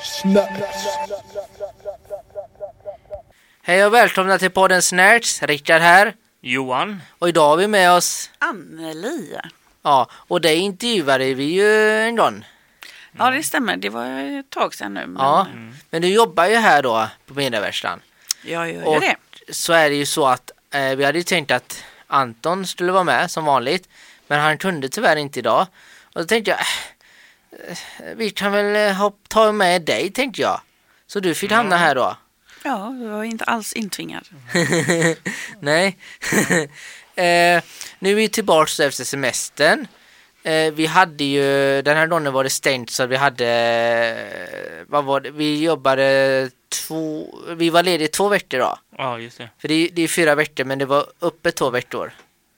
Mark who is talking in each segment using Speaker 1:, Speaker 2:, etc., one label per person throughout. Speaker 1: Snacks.
Speaker 2: Hej och välkomna till podden Snärts. Rickard här.
Speaker 3: Johan.
Speaker 2: Och idag har vi med oss,
Speaker 4: Anneli.
Speaker 2: ja, och dig intervjuade vi ju en gång.
Speaker 4: Ja,
Speaker 3: Mm.
Speaker 4: det stämmer. Det var ett tag sedan nu. Men
Speaker 2: Ja, men du jobbar ju här då på Mediaverkstan.
Speaker 4: Jag gör ju
Speaker 2: Och
Speaker 4: det.
Speaker 2: så är det ju så att eh, vi hade ju tänkt att Anton skulle vara med som vanligt. Men han kunde tyvärr inte idag. Och då tänkte jag, eh, eh, vi kan väl eh, hopp- ta med dig tänkte jag. Så du fick
Speaker 4: Mm.
Speaker 2: hamna här då.
Speaker 4: Ja, jag var inte alls intvingad.
Speaker 2: Nej. eh, nu är vi tillbaks efter semestern. Eh, vi hade ju, den här dagen var det stängt så vi hade, eh, vad var det, vi jobbade två, vi var lediga två veckor då.
Speaker 3: Ja, just det.
Speaker 2: För det, är- det är fyra veckor men det var uppe två veckor.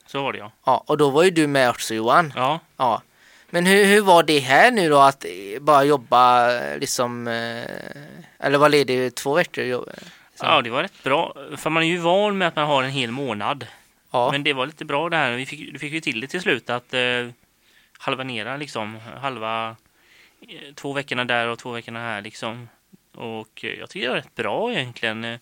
Speaker 3: Så var det ja.
Speaker 2: Ja, och då var ju du med också Johan.
Speaker 3: Ja,
Speaker 2: Ja. Men hur, hur var det här nu då att eh, bara jobba eh, liksom, eh, eller var ledig i två veckor? Jo- eh, Så.
Speaker 3: ja det var rätt bra. För man är ju van med att man har en hel månad.
Speaker 2: Ja,
Speaker 3: Men det var lite bra det här. Vi fick, vi fick ju till det till slut att eh, halvanera liksom. Halva eh, två veckorna där och två veckorna här liksom. Och eh, jag tycker det var rätt bra egentligen. Eh,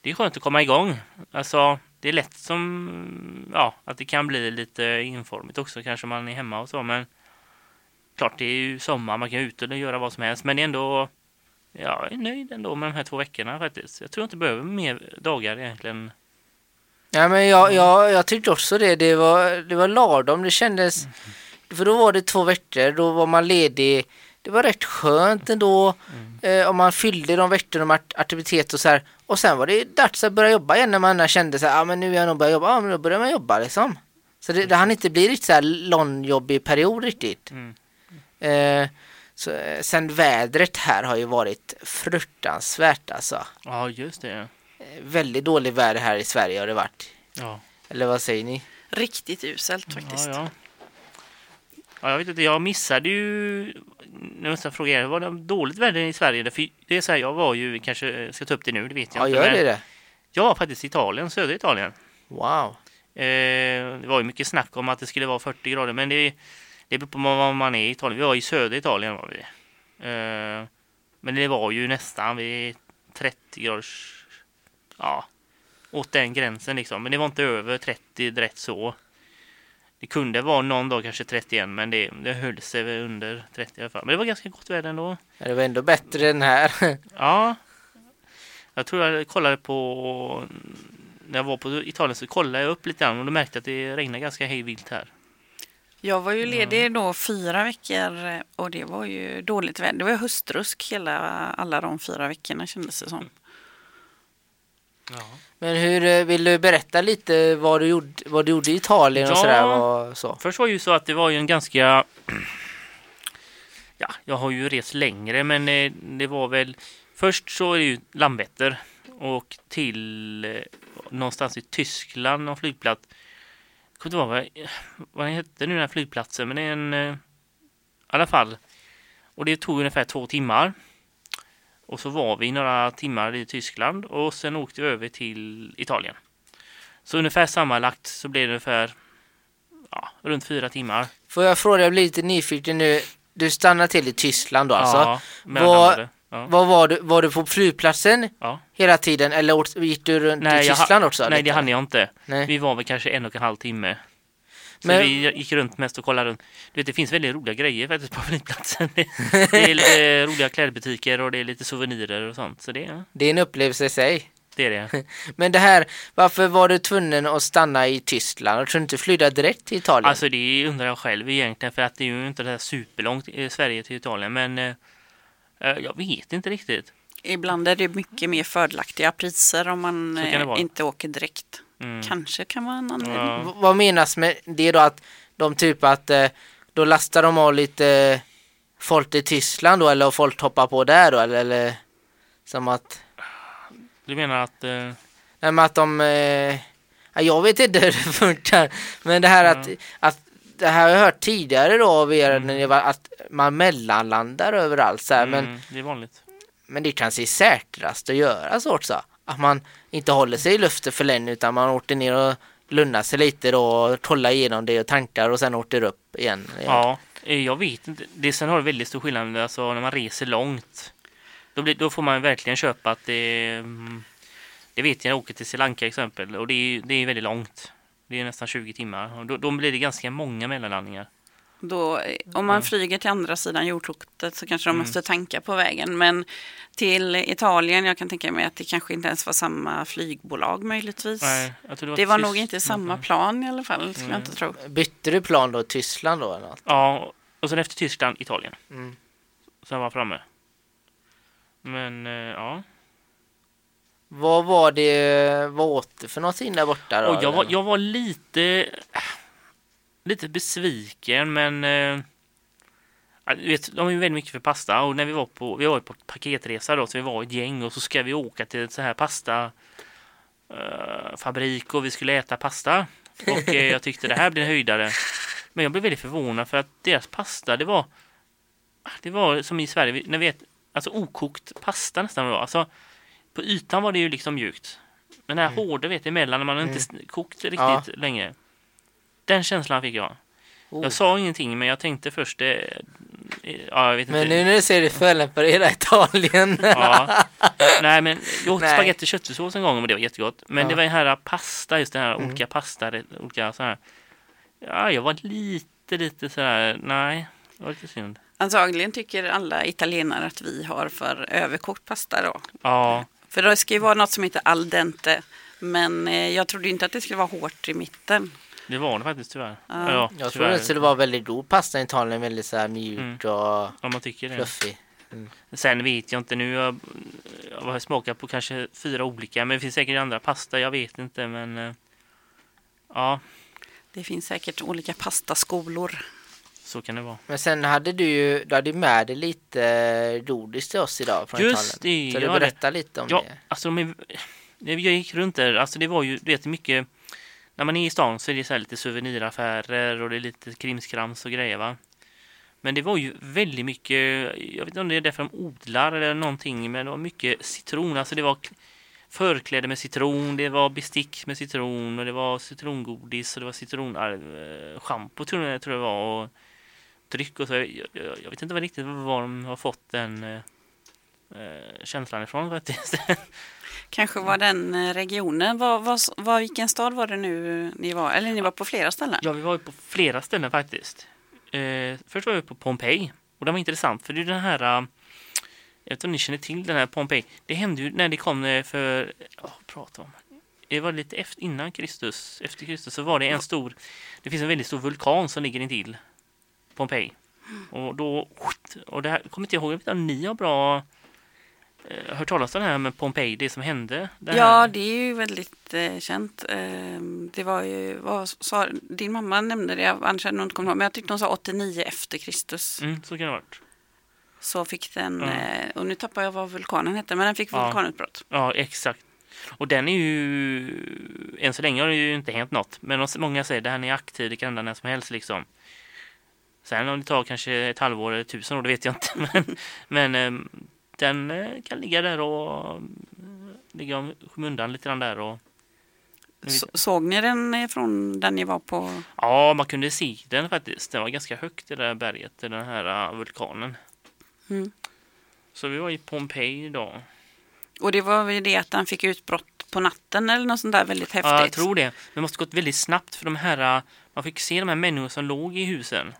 Speaker 3: Det är skönt att komma igång. Alltså, det är lätt som, mm, ja, att det kan bli lite informigt också kanske man är hemma och så. Men klart, det är ju sommar, man kan ut och göra vad som helst. Men det är ändå, ja, jag är nöjd ändå med de här två veckorna faktiskt. Jag tror jag inte behöver mer dagar egentligen.
Speaker 2: ja men jag, jag, jag tyckte också det. Det var, det var lagom. Det kändes, för då var det två veckor, då var man ledig. Det var rätt skönt ändå eh, om man fyllde de veckorna med akt- aktivitet och så här. Och sen var det dags att börja jobba igen när man annars kände så här, ah, men nu är jag nog börjat jobba, ah, men då börjar man jobba liksom. Så det, det hann inte bli riktigt så här långjobbig period riktigt.
Speaker 3: Mm.
Speaker 2: Eh, så, eh, sen vädret här har ju varit fruktansvärt alltså.
Speaker 3: Ja, just det.
Speaker 2: Eh, Väldigt dålig väder här i Sverige har det varit.
Speaker 3: Ja.
Speaker 2: Eller vad säger ni?
Speaker 4: Riktigt uselt faktiskt.
Speaker 3: Ja, ja. ja, jag vet inte. Jag missade ju... Nu måste jag fråga er. Var det dåligt väder i Sverige? För det är så här, jag var ju... Kanske eh, ska ta upp det nu, det vet jag
Speaker 2: Ja,
Speaker 3: inte.
Speaker 2: gör
Speaker 3: men
Speaker 2: det det?
Speaker 3: Jag var faktiskt i Italien, södra Italien.
Speaker 2: Wow.
Speaker 3: Eh, det var ju mycket snack om att det skulle vara 40 grader, men det, det beror på var man är i Italien. Vi var i södra Italien var vi. Eh, men det var ju nästan vid 30 graders... Ja, åt den gränsen liksom. Men det var inte över 30 direkt så. Det kunde vara någon dag kanske 31, men det, det höll sig väl under 30 i alla fall. Men det var ganska gott väder ändå.
Speaker 2: Ja, Det var ändå bättre än här.
Speaker 3: Ja. Jag tror jag kollade på... När jag var på Italien så kollade jag upp lite grann och då märkte jag att det regnade ganska hejvilt här.
Speaker 4: Jag var ju ledig då fyra veckor och det var ju dåligt väder. Det var ju höstrusk hela, alla de fyra veckorna kändes det som.
Speaker 2: Men hur, eh, vill du berätta lite vad du gjorde, vad du gjorde i Italien och
Speaker 3: Ja.
Speaker 2: sådär? Och så?
Speaker 3: Först var det ju så att det var ju en ganska... Ja, jag har ju rest längre men eh, det var väl... Först så är det ju Landvetter och till eh, någonstans i Tyskland någon flygplats. Jag kommer inte ihåg vad, eh, vad den hette nu den här flygplatsen men det är en... eh, I alla fall. Och det tog ungefär två timmar. Och så var vi några timmar i Tyskland och sen åkte vi över till Italien. Så ungefär sammanlagt så blev det ungefär ja, runt fyra timmar.
Speaker 2: Får jag fråga, jag blir lite nyfiken nu. Du stannade till i Tyskland då alltså.
Speaker 3: ja, mellan
Speaker 2: vad-
Speaker 3: andra. ja.
Speaker 2: Vad var, du, var du på flygplatsen
Speaker 3: Ja.
Speaker 2: hela tiden eller åt- gick du runt i
Speaker 3: jag ha-
Speaker 2: Tyskland också?
Speaker 3: Nej,
Speaker 2: lite?
Speaker 3: det hann jag inte.
Speaker 2: Nej.
Speaker 3: Vi var väl kanske en och en halv timme. Så
Speaker 2: Men-
Speaker 3: vi gick runt mest och kollade runt. Du vet, det finns väldigt roliga grejer faktiskt på flygplatsen. Det det är lite eh, roliga klädbutiker och det är lite souvenirer och sånt. Så det,
Speaker 2: Det är en upplevelse i sig.
Speaker 3: det är det.
Speaker 2: Men det här, varför var du tvungen att stanna i Tyskland? Och kunde inte flyga direkt till Italien?
Speaker 3: Alltså det undrar jag själv egentligen för att det är ju inte det här superlångt eh, Sverige till Italien men eh, eh, jag vet inte riktigt.
Speaker 4: Ibland är det mycket mer fördelaktiga priser om man
Speaker 3: Så kan det
Speaker 4: eh,
Speaker 3: vara.
Speaker 4: inte åker direkt.
Speaker 3: Mm.
Speaker 4: Kanske kan vara en anledning.
Speaker 3: Ja.
Speaker 2: V- Vad menas med det då att de typ att eh, då lastar de av lite eh, folk i Tyskland då eller och folk hoppar på där då eller, eller som att
Speaker 3: Du menar att eh,
Speaker 2: nej men att de eh, ja, jag vet inte hur det funkar men det här att, att det här har jag hört tidigare då av er när det var att man mellanlandar överallt så här, men,
Speaker 3: mm, det är vanligt.
Speaker 2: men det kanske är säkrast att göra så också att man inte håller sig i luften för länge utan man åker ner och lugnar sig lite då och kollar igenom det och tankar och sen åker upp igen.
Speaker 3: eh, Ja, eh, jag vet inte. Det, sen har det väldigt stor skillnad alltså, när man reser långt. Då, blir, då får man verkligen köpa att det... mm, Det vet jag när jag åker till Sri Lanka exempel och det är, det är väldigt långt. Det är nästan 20 timmar och då, då blir det ganska många mellanlandningar.
Speaker 4: Då, eh, om man flyger till andra sidan jordklotet så kanske de måste tanka på vägen. Men till Italien, jag kan tänka mig att det kanske inte ens var samma flygbolag möjligtvis.
Speaker 3: Nej, jag tror
Speaker 4: Det var
Speaker 3: tyst.
Speaker 4: nog inte samma plan i alla fall, skulle jag inte tro.
Speaker 2: Bytte du plan då? Tyskland då eller något?
Speaker 3: Ja, och sen efter Tyskland, Italien.
Speaker 2: Mm.
Speaker 3: Sen var jag framme. Men eh, ja.
Speaker 2: Vad var det, vad åt du för någonting där borta då?
Speaker 3: Och jag, var,
Speaker 2: eller?
Speaker 3: jag var lite lite besviken men eh, ja, du vet, de är ju väldigt mycket för pasta och när vi var på, vi var ju på paketresa då så vi var ett gäng och så ska vi åka till ett så här pasta eh, fabrik och vi skulle äta pasta och eh, jag tyckte det här blir en höjdare. Men jag blev väldigt förvånad för att deras pasta det var det var som i Sverige, vi- när vi ät, alltså okokt pasta nästan var det. Alltså, på ytan var det ju liksom mjukt. Men det här hårda vet emellan när man inte s- kokt riktigt
Speaker 2: Mm. Ja.
Speaker 3: länge. Den känslan fick jag.
Speaker 2: Oh.
Speaker 3: Jag sa ingenting men jag tänkte först eh, eh, Ja jag vet
Speaker 2: Men
Speaker 3: inte.
Speaker 2: nu när du ser det förolämpar i hela Italien.
Speaker 3: Ja. Nej men jag åt
Speaker 2: Nej.
Speaker 3: spagetti och köttfärssås en gång och det var jättegott. Men
Speaker 2: Ja. Mm.
Speaker 3: det var den här pasta, just den här olika pasta, det- olika så här. Ja jag var lite lite sådär, nej. Det var lite synd.
Speaker 4: Antagligen tycker alla italienare att vi har för överkokt pasta då.
Speaker 3: Ja.
Speaker 4: För det ska ju vara något som heter al dente. Men eh, jag trodde inte att det skulle vara hårt i mitten.
Speaker 3: Det var det faktiskt tyvärr.
Speaker 4: Ja.
Speaker 3: Ja, ja,
Speaker 2: Jag
Speaker 3: tyvärr.
Speaker 2: trodde det skulle vara väldigt god pasta i Italien, väldigt så här
Speaker 3: Mm.
Speaker 2: mjuk och
Speaker 3: Om man tycker det.
Speaker 2: fluffig.
Speaker 3: Sen vet jag inte nu. Jag, jag har smakat på kanske fyra olika. Men det finns säkert andra pasta. Jag vet inte men. eh, Ja,
Speaker 4: Det finns säkert olika pastaskolor.
Speaker 3: så kan det vara.
Speaker 2: Men sen hade du ju, du hade ju med dig lite godis till oss idag från
Speaker 3: Just
Speaker 2: Italien.
Speaker 3: det,
Speaker 2: Så
Speaker 3: jag
Speaker 2: du
Speaker 3: hade-
Speaker 2: berätta lite om
Speaker 3: Ja,
Speaker 2: det.
Speaker 3: alltså de är, jag gick runt där. Alltså det var ju, du vet mycket. När man är i stan så är det så här lite souveniraffärer och det är lite krimskrams och grejer va. Men det var ju väldigt mycket, jag vet inte om det är därför de odlar eller någonting, men det var mycket citron. Alltså det var k- förkläde med citron, det var bestick med citron och det var citrongodis och det var citronschampo tror jag tror jag det var och dryck och så. Jag, jag, jag vet inte vad riktigt var de har fått den eh, eh, känslan ifrån faktiskt.
Speaker 4: Kanske var den eh, regionen. Var, var, var, vilken stad var det nu eh, ni var? Eller ni var på flera ställen?
Speaker 3: Ja, vi var ju på flera ställen faktiskt. Eh, först var vi på Pompeji och det var intressant för det är den här, eh, jag vet inte om ni känner till den här Pompeji. Det hände ju när det kom eh, för, ja, vad pratar vi om? Det var lite efter, innan Kristus, efter Kristus så var det en stor, det finns en väldigt stor vulkan som ligger intill Pompeji. Och då, och det här, jag kommer inte ihåg, jag vet inte om ni har bra eh, hört talas om det här med Pompeji, det som hände? Det här-
Speaker 4: Ja, det är ju väldigt eh, känt. Eh, det var ju, vad sa, din mamma nämnde det, annars hade hon inte kommit ihåg, men jag tyckte hon sa 89 efter Kristus.
Speaker 3: Mm, så kan det ha varit.
Speaker 4: Så fick den,
Speaker 3: Ja.
Speaker 4: eh, och nu tappar jag vad vulkanen hette, men den fick
Speaker 3: Ja.
Speaker 4: vulkanutbrott.
Speaker 3: Ja, exakt. Och den är ju... Än så länge har det ju inte hänt något. Men de- många säger att den är aktiv, det kan hända när som helst liksom. Sen om det tar kanske ett halvår eller tusen år, det vet jag inte. Men, men ehm, den eh, kan ligga där och eh, ligga om skymundan lite grann där. Och,
Speaker 4: Så, såg ni den eh, från där ni var på?
Speaker 3: ja, man kunde se den faktiskt. Den var ganska högt det där berget, den här eh, vulkanen.
Speaker 4: Mm.
Speaker 3: Så vi var i Pompeji idag.
Speaker 4: Och det var väl det att den fick utbrott på natten eller något sånt där väldigt häftigt.
Speaker 3: Ja, jag tror det. Men det måste gått väldigt snabbt för de här, äh, man fick se de här människorna som låg i husen.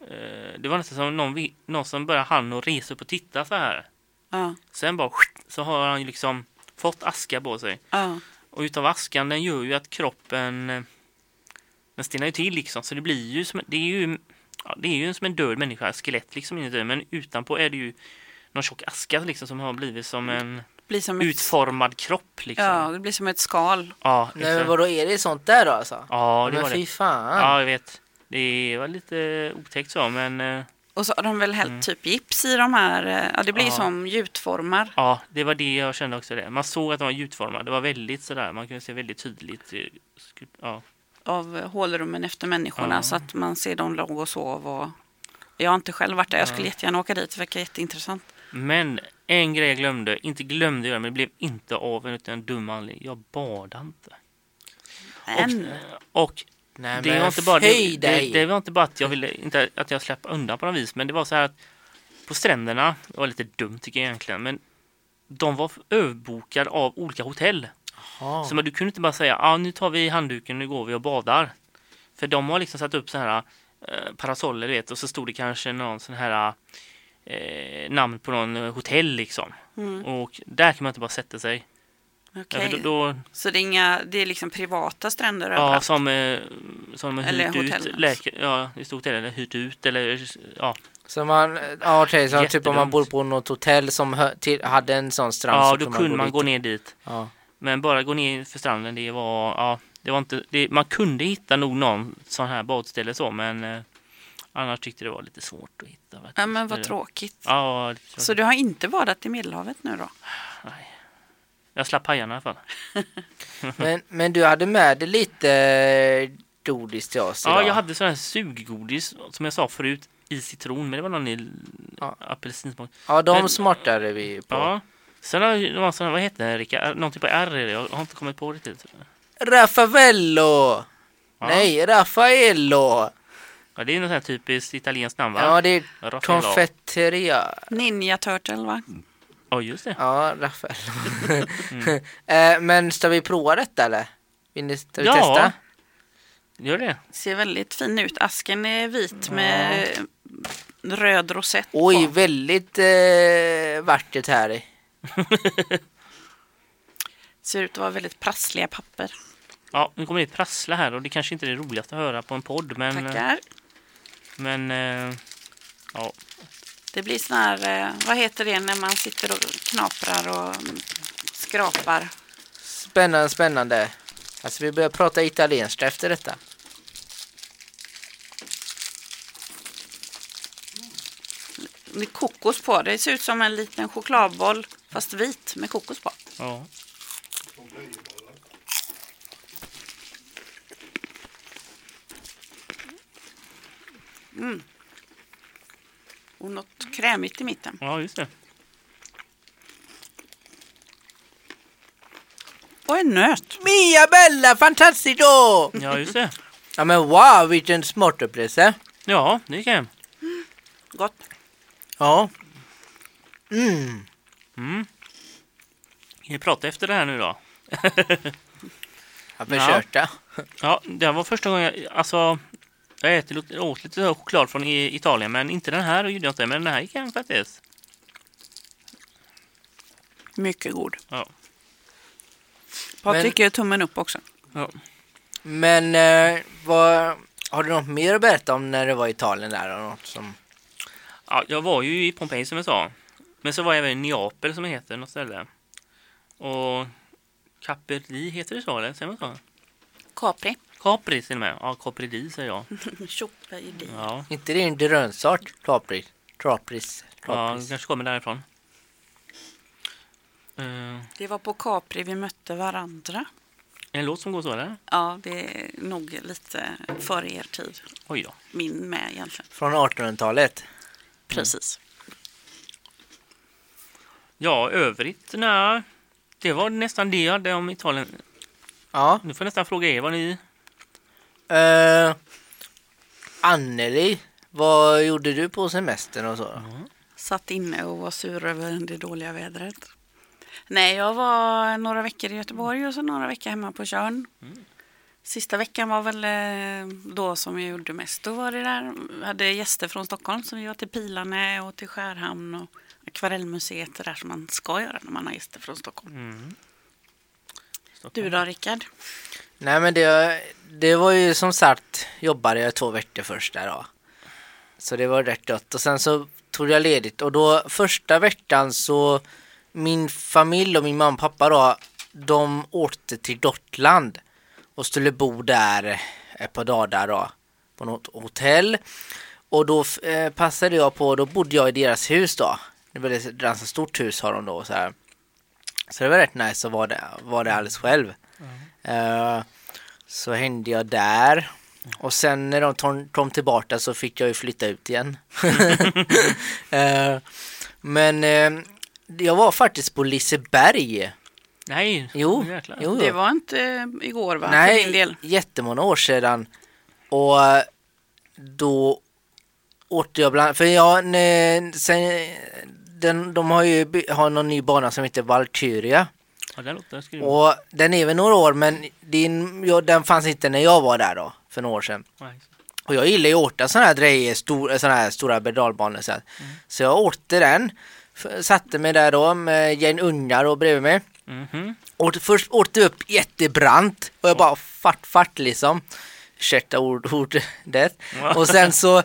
Speaker 3: Eh, Det var nästan som någon, vi- någon som bara hann och resa upp och titta så här.
Speaker 4: Ja,
Speaker 3: Sen bara så har han ju liksom fått aska på sig.
Speaker 4: ja.
Speaker 3: Och utav askan den gör ju att kroppen eh, den stinnar ju till liksom så det blir ju som det är ju ja, det är ju som en död människa, skelett liksom inuti men utanpå är det ju någon tjock aska liksom som har blivit som en
Speaker 4: Det blir som ett,
Speaker 3: utformad kropp liksom.
Speaker 4: Mm. ja, det blir som ett skal.
Speaker 3: ja
Speaker 2: Nej men
Speaker 3: exakt.
Speaker 2: vadå, är det sånt där då alltså?
Speaker 3: Ja, det
Speaker 2: men
Speaker 3: var det.
Speaker 2: fy fan.
Speaker 3: Ja, jag vet. Det var lite otäckt så, men eh,
Speaker 4: Och så har de väl hällt typ gips i de här, eh, ja det blir
Speaker 3: Mm. Ja.
Speaker 4: som gjutformar.
Speaker 3: ja, det var det jag kände också. Det. Man såg att de var gjutformade. Det var väldigt sådär, man kunde se väldigt tydligt. eh, sku- Ja,
Speaker 4: av eh, hålrummen efter människorna
Speaker 3: Ja.
Speaker 4: så att man ser dem låg och sov. Och... Jag har inte själv varit där, jag skulle jättegärna åka dit, det verkar jätteintressant.
Speaker 3: Men en grej jag glömde, inte glömde göra, men det blev inte av utan en dum anledning. Jag badade inte.
Speaker 4: Men
Speaker 3: Och, eh, och
Speaker 2: Nej,
Speaker 3: det,
Speaker 2: men
Speaker 3: var inte bara,
Speaker 2: höj
Speaker 3: det, det,
Speaker 2: dig.
Speaker 3: det var inte bara att jag ville inte att jag släppte undan på något vis, men det var så här att på stränderna, det var lite dumt tycker jag egentligen, men de var överbokade av olika hotell.
Speaker 2: Ja.
Speaker 3: Så men du kunde inte bara säga ah, nu tar vi handduken nu går vi och badar. För de har liksom satt upp så här eh, parasoller du vet och så stod det kanske någon sån här eh, namn på någon eh, hotell liksom.
Speaker 4: Mm.
Speaker 3: Och där kan man inte bara sätta sig. Ja,
Speaker 4: Okej.
Speaker 3: för då, då,
Speaker 4: Så det är, inga, det är liksom privata stränder
Speaker 3: ja,
Speaker 4: överallt?
Speaker 3: som, eh, som har
Speaker 4: Eller
Speaker 3: hyrt ut,
Speaker 4: hotellen.
Speaker 3: läkare, ja, just hotell eller hyrt ut eller ja.
Speaker 2: Så man, ja okej, så typ om man
Speaker 3: Jättedumt.
Speaker 2: bor på något hotell som hö, till, hade en sån strand
Speaker 3: Ja,
Speaker 2: så
Speaker 3: då kunde man gå
Speaker 2: dit.
Speaker 3: ner dit.
Speaker 2: Ja.
Speaker 3: Men bara gå ner för stranden, det var, ja, det var inte, det, man kunde hitta nog någon sån här badställe så, men eh, annars tyckte det var lite svårt att hitta. faktiskt.
Speaker 4: Ja, men vad
Speaker 3: Eller-
Speaker 4: tråkigt.
Speaker 3: Ja, det tror
Speaker 4: Så
Speaker 3: jag.
Speaker 4: du har inte badat i Medelhavet nu då?
Speaker 3: jag slapp hajarna i alla fall.
Speaker 2: Men, men du hade med dig lite eh, godis till oss
Speaker 3: Ja,
Speaker 2: idag.
Speaker 3: jag hade sån här suggodis, som jag sa förut, i citron, men det var någon i
Speaker 2: Ja.
Speaker 3: apelsinsmak.
Speaker 2: ja de
Speaker 3: men-
Speaker 2: smartade vi på.
Speaker 3: Ja. Sen har jag någon sån här, vad heter den Rickard? Någonting på R är det, jag har inte kommit på riktigt.
Speaker 2: Raffavello!
Speaker 3: Ja.
Speaker 2: Nej, Raffaello!
Speaker 3: Ja, det är något sån här typiskt italienskt namn va?
Speaker 2: Ja, det är
Speaker 3: Raffaello.
Speaker 2: konfetteria.
Speaker 4: Ninja Turtle va?
Speaker 3: Mm. Ja, just det.
Speaker 2: Ja, Raffaello.
Speaker 3: Mm.
Speaker 2: Eh, men ska vi prova detta eller? Vill ni, ska vi
Speaker 3: Ja.
Speaker 2: testa?
Speaker 3: Gör det?
Speaker 4: Ser väldigt fin ut. Asken är vit med röd rosett
Speaker 2: Oj,
Speaker 4: på.
Speaker 2: väldigt eh, vackert här i.
Speaker 4: Ser ut att vara väldigt prassliga papper.
Speaker 3: Ja, nu kommer det prassla här och det kanske inte är det roligaste att höra på en podd, men... eh,
Speaker 4: Tackar.
Speaker 3: Men... eh, Ja,
Speaker 4: Det blir sån här, eh, vad heter det när man sitter och knaprar och mm, skrapar?
Speaker 2: Spännande, spännande. Alltså vi börjar prata italienska efter detta.
Speaker 4: Det är kokos på. Det ser ut som en liten chokladboll fast vit med kokos på.
Speaker 3: ja.
Speaker 4: Och något krämigt i mitten.
Speaker 3: ja just det.
Speaker 4: Och en nöt.
Speaker 2: Mia Bella Fantastico!
Speaker 3: Ja, just det.
Speaker 2: Ja men wow, vilken smart upplevelse.
Speaker 3: Ja, det kan jag.
Speaker 4: Gott.
Speaker 2: Ja. Mm.
Speaker 3: Mm. Kan vi prata efter det här nu då?
Speaker 2: Jag försökte.
Speaker 3: Ja, det var första gången jag... Alltså, jag äter, lite- åt lite choklad från i- Italien, men inte den här gjorde jag inte. Men den här gick hem faktiskt.
Speaker 4: Mycket god.
Speaker 3: Ja.
Speaker 4: Patrik gör tummen upp också.
Speaker 3: Ja.
Speaker 2: Men eh, vad, har du något mer att berätta om när du var i Italien där? Och något som...
Speaker 3: Ja, jag var ju i Pompeji som jag sa. Men så var jag även i Neapel som det heter, något ställe. Och Capri, heter det så eller? Säger man så?
Speaker 4: Capri.
Speaker 3: Capri till och med. Ja, Capri di säger jag.
Speaker 4: Tjoppa i dig.
Speaker 3: Ja,
Speaker 2: Inte det är en grönsort? Trapris. Trapris.
Speaker 3: ja
Speaker 2: Trapris.
Speaker 3: kanske kommer därifrån. Eh,
Speaker 4: Det var på Capri vi mötte varandra.
Speaker 3: en låt som går så eller?
Speaker 4: Ja, det är nog lite före er tid.
Speaker 3: Oj då.
Speaker 4: Min med egentligen.
Speaker 2: Från 1800-talet.
Speaker 3: Mm.
Speaker 4: Precis.
Speaker 3: Ja, övrigt, nej. Det var nästan det jag hade om Italien.
Speaker 2: Ja.
Speaker 3: Nu får jag nästan fråga er vad ni...
Speaker 2: Eh, Anneli, vad gjorde du på semestern och så? då?
Speaker 4: Satt inne och var sur över det dåliga vädret. Nej, jag var några veckor i Göteborg och så några veckor hemma på Tjörn. Sista veckan var väl eh, då som jag gjorde mest. Då var det där, vi hade gäster från Stockholm så vi var till Pilarne och till Skärhamn och Akvarellmuseet det där som man ska göra när man har gäster från Stockholm.
Speaker 3: Mm.
Speaker 4: Du då Rickard?
Speaker 2: Nej men det, det var ju som sagt, jobbade jag två veckor första då. Så det var rätt dött och sen så tog jag ledigt och då första veckan så min familj och min mamma och pappa då, de åkte till Gotland och skulle bo där ett par dagar där då, på något hotell. Och då eh, passade jag på, då bodde jag i deras hus då. Det var ett ganska stort hus har de då så här. Så det var rätt nice att vara där, vara där alldeles själv. Eh, så hängde jag där. Och sen när de tom- kom tillbaka så fick jag ju flytta ut igen. Eh, men eh, jag var faktiskt på Liseberg.
Speaker 3: Nej.
Speaker 2: Jo,
Speaker 3: Jäklar.
Speaker 2: jo,
Speaker 4: Det
Speaker 2: jo.
Speaker 4: var inte eh, igår va? För din del.
Speaker 2: Nej, jättemånga år sedan. Och eh, då åkte jag bland för jag, när- sen, den, de har ju by- har någon ny bana som heter Valkyria.
Speaker 3: Ja, den låter skrym.
Speaker 2: Mm. Och den är väl några år men din, ja, den fanns inte när jag var där då, för några år sedan.
Speaker 3: Nej.
Speaker 2: Och jag gillar ju att åka sådana här drejer, stor, såna här stora berg-och-dalbanor. Så, här. så jag åkte den, f- satte mig där då med ett gäng ungar och bredvid mig.
Speaker 3: Mhm.
Speaker 2: Åt, först åkte upp jättebrant och jag bara fart, fart liksom. Ursäkta ord, ordet.
Speaker 3: Ja.
Speaker 2: Och sen så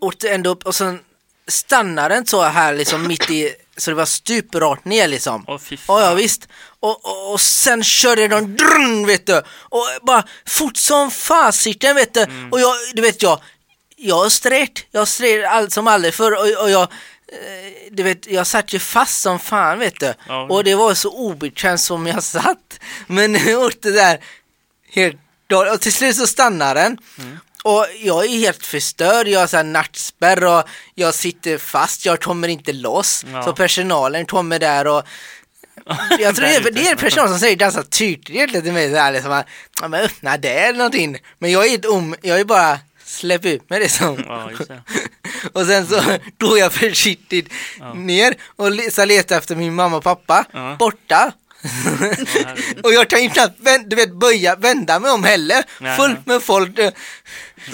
Speaker 2: åkte jag ändå upp och sen stannade den så här liksom mitt i, så det var stuprakt ner liksom.
Speaker 3: Åh, fy
Speaker 2: Ja, ja
Speaker 3: fan.
Speaker 2: visst. Och, och, och sen körde de drrrn, vet du. Och bara fort som fasiken vet du.
Speaker 3: Mm.
Speaker 2: Och jag, du vet jag, jag stret. Jag stret allt som aldrig förr och, och jag, eh, du vet, jag satt ju fast som fan vet du.
Speaker 3: Ja.
Speaker 2: Och det var så obekvämt som jag satt. Men jag åkte där helt dåligt. Och till slut så stannade den.
Speaker 3: Mm.
Speaker 2: Och jag är helt förstörd, jag har så här nackspärr och jag sitter fast, jag kommer inte loss.
Speaker 3: Ja.
Speaker 2: Så personalen kommer där och jag tror det
Speaker 3: Där
Speaker 2: är,
Speaker 3: ute.
Speaker 2: det är personal som säger ganska tydligt egentligen till mig så här liksom att, ja men öppna det eller någonting. Men jag är helt om, jag är bara släpp ut mig liksom.
Speaker 3: Ja, just det. Mm.
Speaker 2: och sen så tog jag försiktigt ner och le- så letade jag efter min mamma och pappa,
Speaker 3: Ja.
Speaker 2: borta.
Speaker 3: Ja, herregud.
Speaker 2: och jag kan ju knappt vän- du vet, böja, vända mig om heller,
Speaker 3: Nej,
Speaker 2: fullt med folk. eh.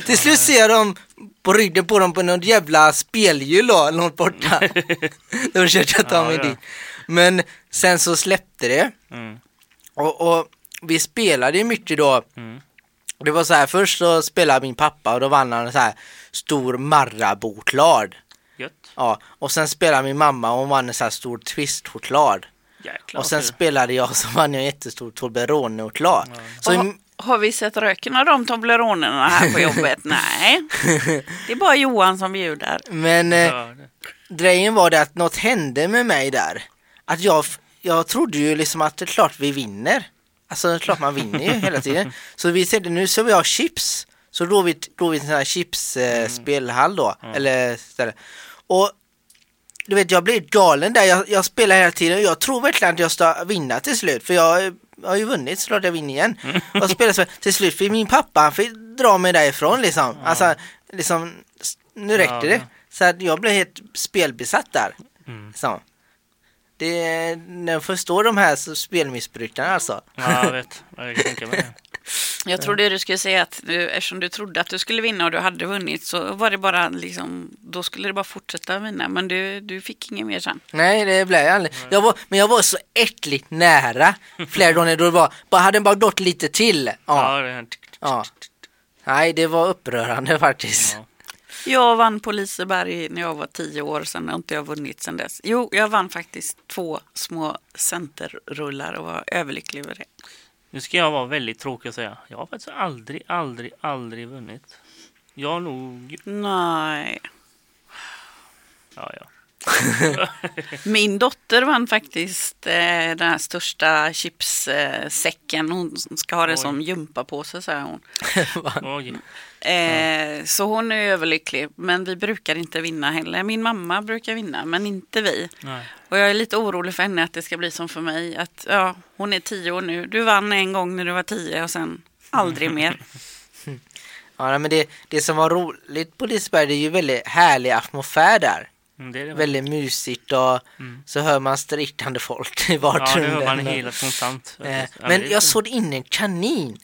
Speaker 2: Till slut ser jag dem på ryggen på dem på något jävla spelhjul då, långt borta. Då försökte jag ta
Speaker 3: Ja,
Speaker 2: mig
Speaker 3: ja.
Speaker 2: dit. Men sen så släppte det.
Speaker 3: Mm.
Speaker 2: Och, och vi spelade ju mycket då.
Speaker 3: Mm.
Speaker 2: Det var så här, först så spelade min pappa och då vann han en så här stor marraboklad.
Speaker 3: Gött.
Speaker 2: Ja, och sen spelade min mamma och hon vann en så här stor twistchoklad.
Speaker 3: Jäklar.
Speaker 2: Och sen
Speaker 3: vad kul.
Speaker 2: spelade jag och så vann jag en jättestor Toblerone-choklad. Så
Speaker 4: Och ha- har vi sett röken av de Tobleronerna här på jobbet? Nej, det är bara Johan som bjuder.
Speaker 2: Men eh,
Speaker 3: Ja, det-
Speaker 2: grejen var det att något hände med mig där. Att jag, f- jag trodde ju liksom att det är klart vi vinner. Alltså det är klart man vinner ju hela tiden. Så vi tänkte nu ska vi ha chips. Så då vi, då vi till en sån här
Speaker 3: Mm.
Speaker 2: chipsspelhall eh, spelhall då. Eller ställe. Och du vet jag blir galen där. Jag, jag spelar hela tiden och jag tror verkligen att jag ska vinna till slut. För jag eh, har ju vunnit så klart jag vinner igen.
Speaker 3: Mm.
Speaker 2: Och spelar så, till slut fick min pappa han fick dra mig därifrån liksom. Alltså liksom s- nu räckte
Speaker 3: Ja,
Speaker 2: det.
Speaker 3: ja.
Speaker 2: Så att jag blev helt spelbesatt där.
Speaker 3: Mm.
Speaker 2: Så. Det, när förstår de här så- spelmissbrukarna alltså.
Speaker 3: Ja, jag vet. Ja, Jag kan tänka mig det.
Speaker 4: Jag trodde du skulle säga att du, eftersom du trodde att du skulle vinna och du hade vunnit så var det bara liksom, då skulle det bara fortsätta vinna. Men du, du fick inget mer sen.
Speaker 2: Nej, det blev jag aldrig. Jag var, men jag var så äckligt nära flera gånger då det var, bara, hade den bara gått lite till. Ja, ja.
Speaker 3: Ja, det har hänt.
Speaker 2: Nej, det var upprörande faktiskt.
Speaker 3: Ja.
Speaker 4: Jag vann på Liseberg när jag var tio år, sen har inte jag vunnit sen dess. Jo, jag vann faktiskt två små centerrullar och var överlycklig över det.
Speaker 3: Nu ska jag vara väldigt tråkig och säga. Jag har faktiskt aldrig, aldrig, aldrig vunnit. Jag har nog...
Speaker 4: Nej.
Speaker 3: Ja, ja.
Speaker 4: Min dotter vann faktiskt eh, den här största chipssäcken. Eh, säcken. hon ska ha det
Speaker 3: Oj.
Speaker 4: som gympapåse, säger hon.
Speaker 3: Oj.
Speaker 4: Eh, så hon är överlycklig, men vi brukar inte vinna heller. Min mamma brukar vinna, men inte vi.
Speaker 3: Nej.
Speaker 4: Och jag är lite orolig för henne att det ska bli som för mig. Att, ja, hon är tio år nu. Du vann en gång när du var tio och sen aldrig mer.
Speaker 2: Ja, nej, men det, det som var roligt på Liseberg, det är ju väldigt härlig atmosfär där.
Speaker 3: Mm, Det är det. väl.
Speaker 2: Väldigt mysigt och så hör man strittande folk i
Speaker 3: Mm. Ja, nu
Speaker 2: vardagsrummet.
Speaker 3: hör man hela konstant. Ja,
Speaker 2: Eh,
Speaker 3: det är
Speaker 2: Men
Speaker 3: det.
Speaker 2: jag såg in en kanin.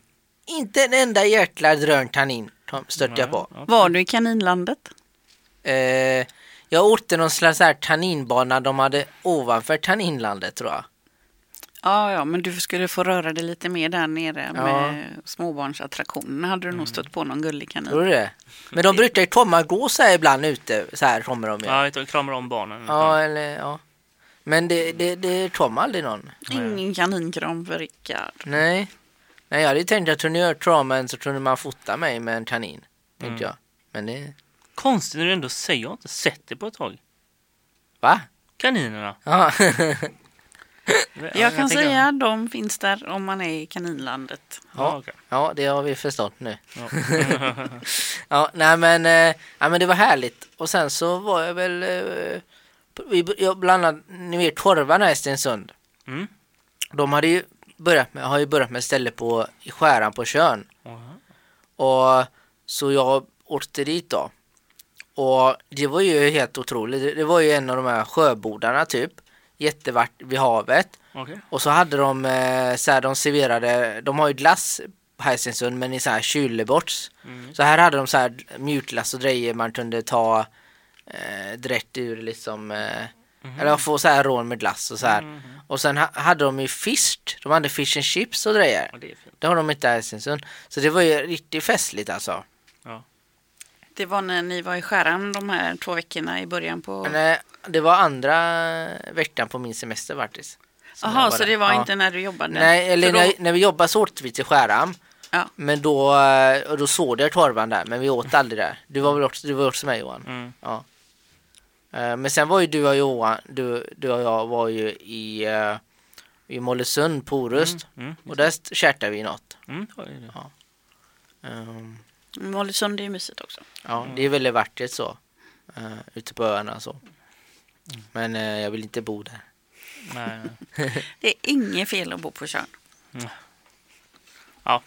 Speaker 2: Inte en enda jäkla drön kanin kom- stötte jag på.
Speaker 3: Ja, ja.
Speaker 4: Var du i kaninlandet?
Speaker 2: Eh, jag åkte någon slags här tanninbana de hade ovanför tanninlandet tror jag.
Speaker 4: Ja, ja, men du skulle få röra dig lite mer där nere
Speaker 2: Ja.
Speaker 4: med småbarnsattraktionerna. Hade du nog stött på någon gullig kanin.
Speaker 2: Tror du det? Men de brukar ju komma och gå så här ibland ute, så här kommer de ju. Ja,
Speaker 3: Ja, jag tar- kramar om barnen.
Speaker 2: eller ja. Men det, det, det kom aldrig någon.
Speaker 4: Ingen kaninkram för Rickard.
Speaker 2: Nej. Nej, jag hade ju tänkt att kunde jag göra men så kunde man fota mig med en kanin. Tänkte jag. Men det...
Speaker 3: Konstigt när du ändå säger. Jag har inte sett det på ett tag.
Speaker 2: Va?
Speaker 3: Kaninerna.
Speaker 2: Ja.
Speaker 4: Jag kan säga att de finns där om man är i kaninlandet.
Speaker 3: Ja, okej.
Speaker 2: ja, det har vi förstått nu.
Speaker 3: Ja.
Speaker 2: Ja, nej men, eh, ja, men det var härligt. Och sen så var jag väl, eh, på- vi, jag bland annat, ni vet korvarna här i Stensund.
Speaker 3: Mm.
Speaker 2: De hade ju börjat med, har ju börjat med ett ställe på, i Skäran på Tjörn.
Speaker 3: Jaha.
Speaker 2: Och så jag åkte dit då. Och det var ju helt otroligt. Det- Det var ju en av de här sjöbodarna typ. Jättevart vid havet.
Speaker 3: Okej.
Speaker 2: Och så hade de eh, så här, de serverade, de har ju glass här i Stensund men i så här kylebots.
Speaker 3: Mm.
Speaker 2: Så här hade de så här mjukglass och grejer man kunde ta eh, direkt ur liksom, eh, eller få så här rån med glass och så här. Och sen ha, hade de ju fisk, de hade fish and chips och grejer.
Speaker 3: Ja, det är fint.
Speaker 2: Det har de inte här i Stensund. Så det var ju riktigt festligt alltså.
Speaker 4: Det var när ni var i Skärhamn de här två veckorna i början på...
Speaker 2: Men, eh, det var andra veckan på min semester faktiskt. som jag
Speaker 4: Jaha, så
Speaker 2: där.
Speaker 4: det var
Speaker 2: Ja.
Speaker 4: inte när du jobbade?
Speaker 2: Nej, eller
Speaker 4: För då-
Speaker 2: när, när vi jobbade så åt vi till Skärhamn.
Speaker 4: Ja.
Speaker 2: Men då, eh, och då såg jag torvan där, men vi åt aldrig där. Du var väl också, du var också med Johan?
Speaker 3: Mm.
Speaker 2: Ja. Eh, Men sen var ju du och Johan, du, du och jag var ju i, eh, i Mollösund på Orust.
Speaker 3: Mm.
Speaker 2: Och där st- käkade vi något.
Speaker 3: Mm. det var ju det.
Speaker 2: Ehm,
Speaker 4: Mollösund är ju mysigt också.
Speaker 2: Ja,
Speaker 4: Mm.
Speaker 2: det är väldigt vackert så. eh, Ute på öarna och så. Men eh, jag vill inte bo där.
Speaker 3: Nej, nej.
Speaker 4: Det är inget fel att bo på Tjörn.
Speaker 3: Ja.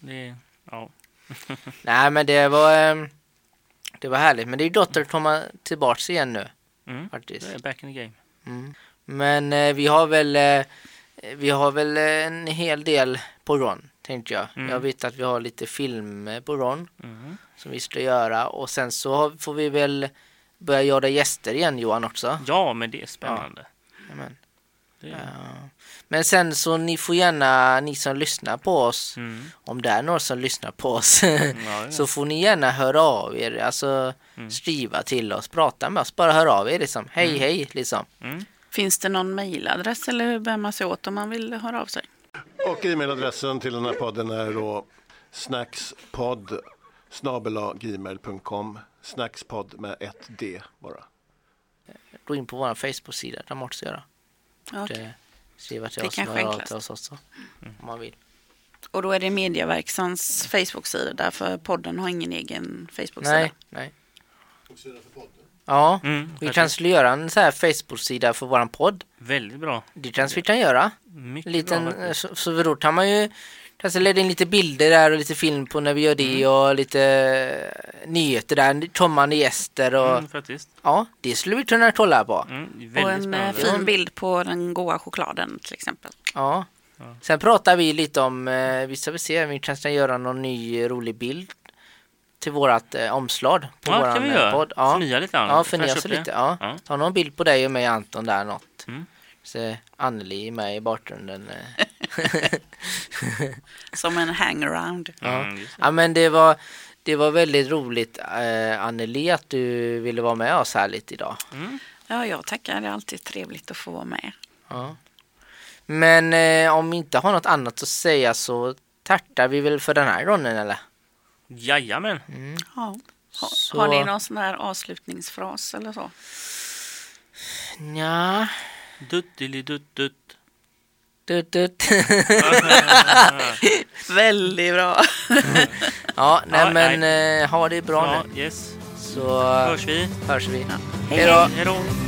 Speaker 3: Det, ja.
Speaker 2: Nej men det var, ehm, det var härligt. Men det är gott att komma tillbaks igen nu
Speaker 3: Mm.
Speaker 2: faktiskt.
Speaker 3: Det är back in the game.
Speaker 2: Mm. Men eh, vi har väl eh, vi har väl eh, en hel del på gång, tänkte jag.
Speaker 3: Mm.
Speaker 2: Jag vet att vi har lite filmer på gång
Speaker 3: Mm.
Speaker 2: som vi ska göra och sen så har- får vi väl börja göra gäster igen Johan också.
Speaker 3: Ja, men det är spännande.
Speaker 2: Jajamän.
Speaker 3: Det
Speaker 2: Ja.
Speaker 3: är,
Speaker 2: Men sen så ni får gärna, ni som lyssnar på oss,
Speaker 3: mm.
Speaker 2: om det är någon som lyssnar på oss,
Speaker 3: Ja, Mm. ja.
Speaker 2: så får ni gärna höra av er, alltså skriva till oss, prata med oss, bara höra av er liksom. Hej
Speaker 3: Mm.
Speaker 2: hej liksom.
Speaker 4: Finns det någon mejladress eller hur bär man sig åt om man vill höra av sig?
Speaker 1: Och e-mailadressen till den här podden är då snackspodd snabelagmail.com Snackspodd med ett D bara.
Speaker 2: Gå in på vår Facebook-sida, där man också göra.
Speaker 4: Okej.
Speaker 2: eh, skriva till
Speaker 4: Det
Speaker 2: oss
Speaker 4: kanske
Speaker 2: några
Speaker 4: är
Speaker 2: rader
Speaker 4: enklast.
Speaker 2: till oss också. Om man vill.
Speaker 4: Och då är det Mediaverksans Facebook-sida därför podden har ingen egen Facebook-sida.
Speaker 2: Nej, nej. Ja,
Speaker 3: Mm,
Speaker 2: vi
Speaker 3: precis.
Speaker 2: kanske skulle göra en så här Facebook-sida för våran podd.
Speaker 3: Väldigt bra.
Speaker 2: Det kanske vi kan göra.
Speaker 3: Mycket
Speaker 2: Liten, eh,
Speaker 3: bra. faktiskt.
Speaker 2: så, så då kan man ju kanske lägga in lite bilder där och lite film på när vi gör det och lite eh, nyheter där, kommande gäster och
Speaker 3: Mm, faktiskt.
Speaker 2: ja, det skulle vi kunna kolla på.
Speaker 3: Mm, väldigt
Speaker 4: Och en eh,
Speaker 3: spännande.
Speaker 4: fin bild på den goa chokladen till exempel.
Speaker 2: Ja.
Speaker 3: Ja.
Speaker 2: Sen pratar vi lite om, eh, vi ska väl se, vi kanske kan göra någon ny eh, rolig bild till vårat eh, omslag på
Speaker 3: ja,
Speaker 2: våran
Speaker 3: kan vi
Speaker 2: eh,
Speaker 3: göra.
Speaker 2: podd. Ja.
Speaker 3: Förnya lite grann.
Speaker 2: Ja, förnya
Speaker 3: Fräscha
Speaker 2: sig
Speaker 3: upp det.
Speaker 2: lite. Ja.
Speaker 3: Ja.
Speaker 2: Ta någon bild på dig och mig Anton där något.
Speaker 3: Mm.
Speaker 2: Så Anneli är med i bakgrunden. eh.
Speaker 4: Som en hangaround.
Speaker 3: Mm, just det.
Speaker 2: Ja men det var, det var väldigt roligt eh, Anneli att du ville vara med oss här lite idag.
Speaker 4: Ja, jag tackar. Det är alltid trevligt att få vara med.
Speaker 2: Ja. Men eh, om vi inte har något annat att säga så tackar vi väl för den här gången eller?
Speaker 3: Jajamän.
Speaker 2: Mm.
Speaker 4: Ja. Ha,
Speaker 2: Så-
Speaker 4: Har ni någon sån här avslutningsfras eller så?
Speaker 2: Ja.
Speaker 3: Duttelidutt-dutt.
Speaker 2: Dut, dut.
Speaker 4: Väldigt bra.
Speaker 2: ja, nej
Speaker 3: Ja,
Speaker 2: men eh, ha det bra
Speaker 3: Ja,
Speaker 2: nu
Speaker 3: yes.
Speaker 2: så
Speaker 3: Hörs vi.
Speaker 2: hörs vi.
Speaker 4: Ja.
Speaker 2: Hej då.
Speaker 3: Hej då.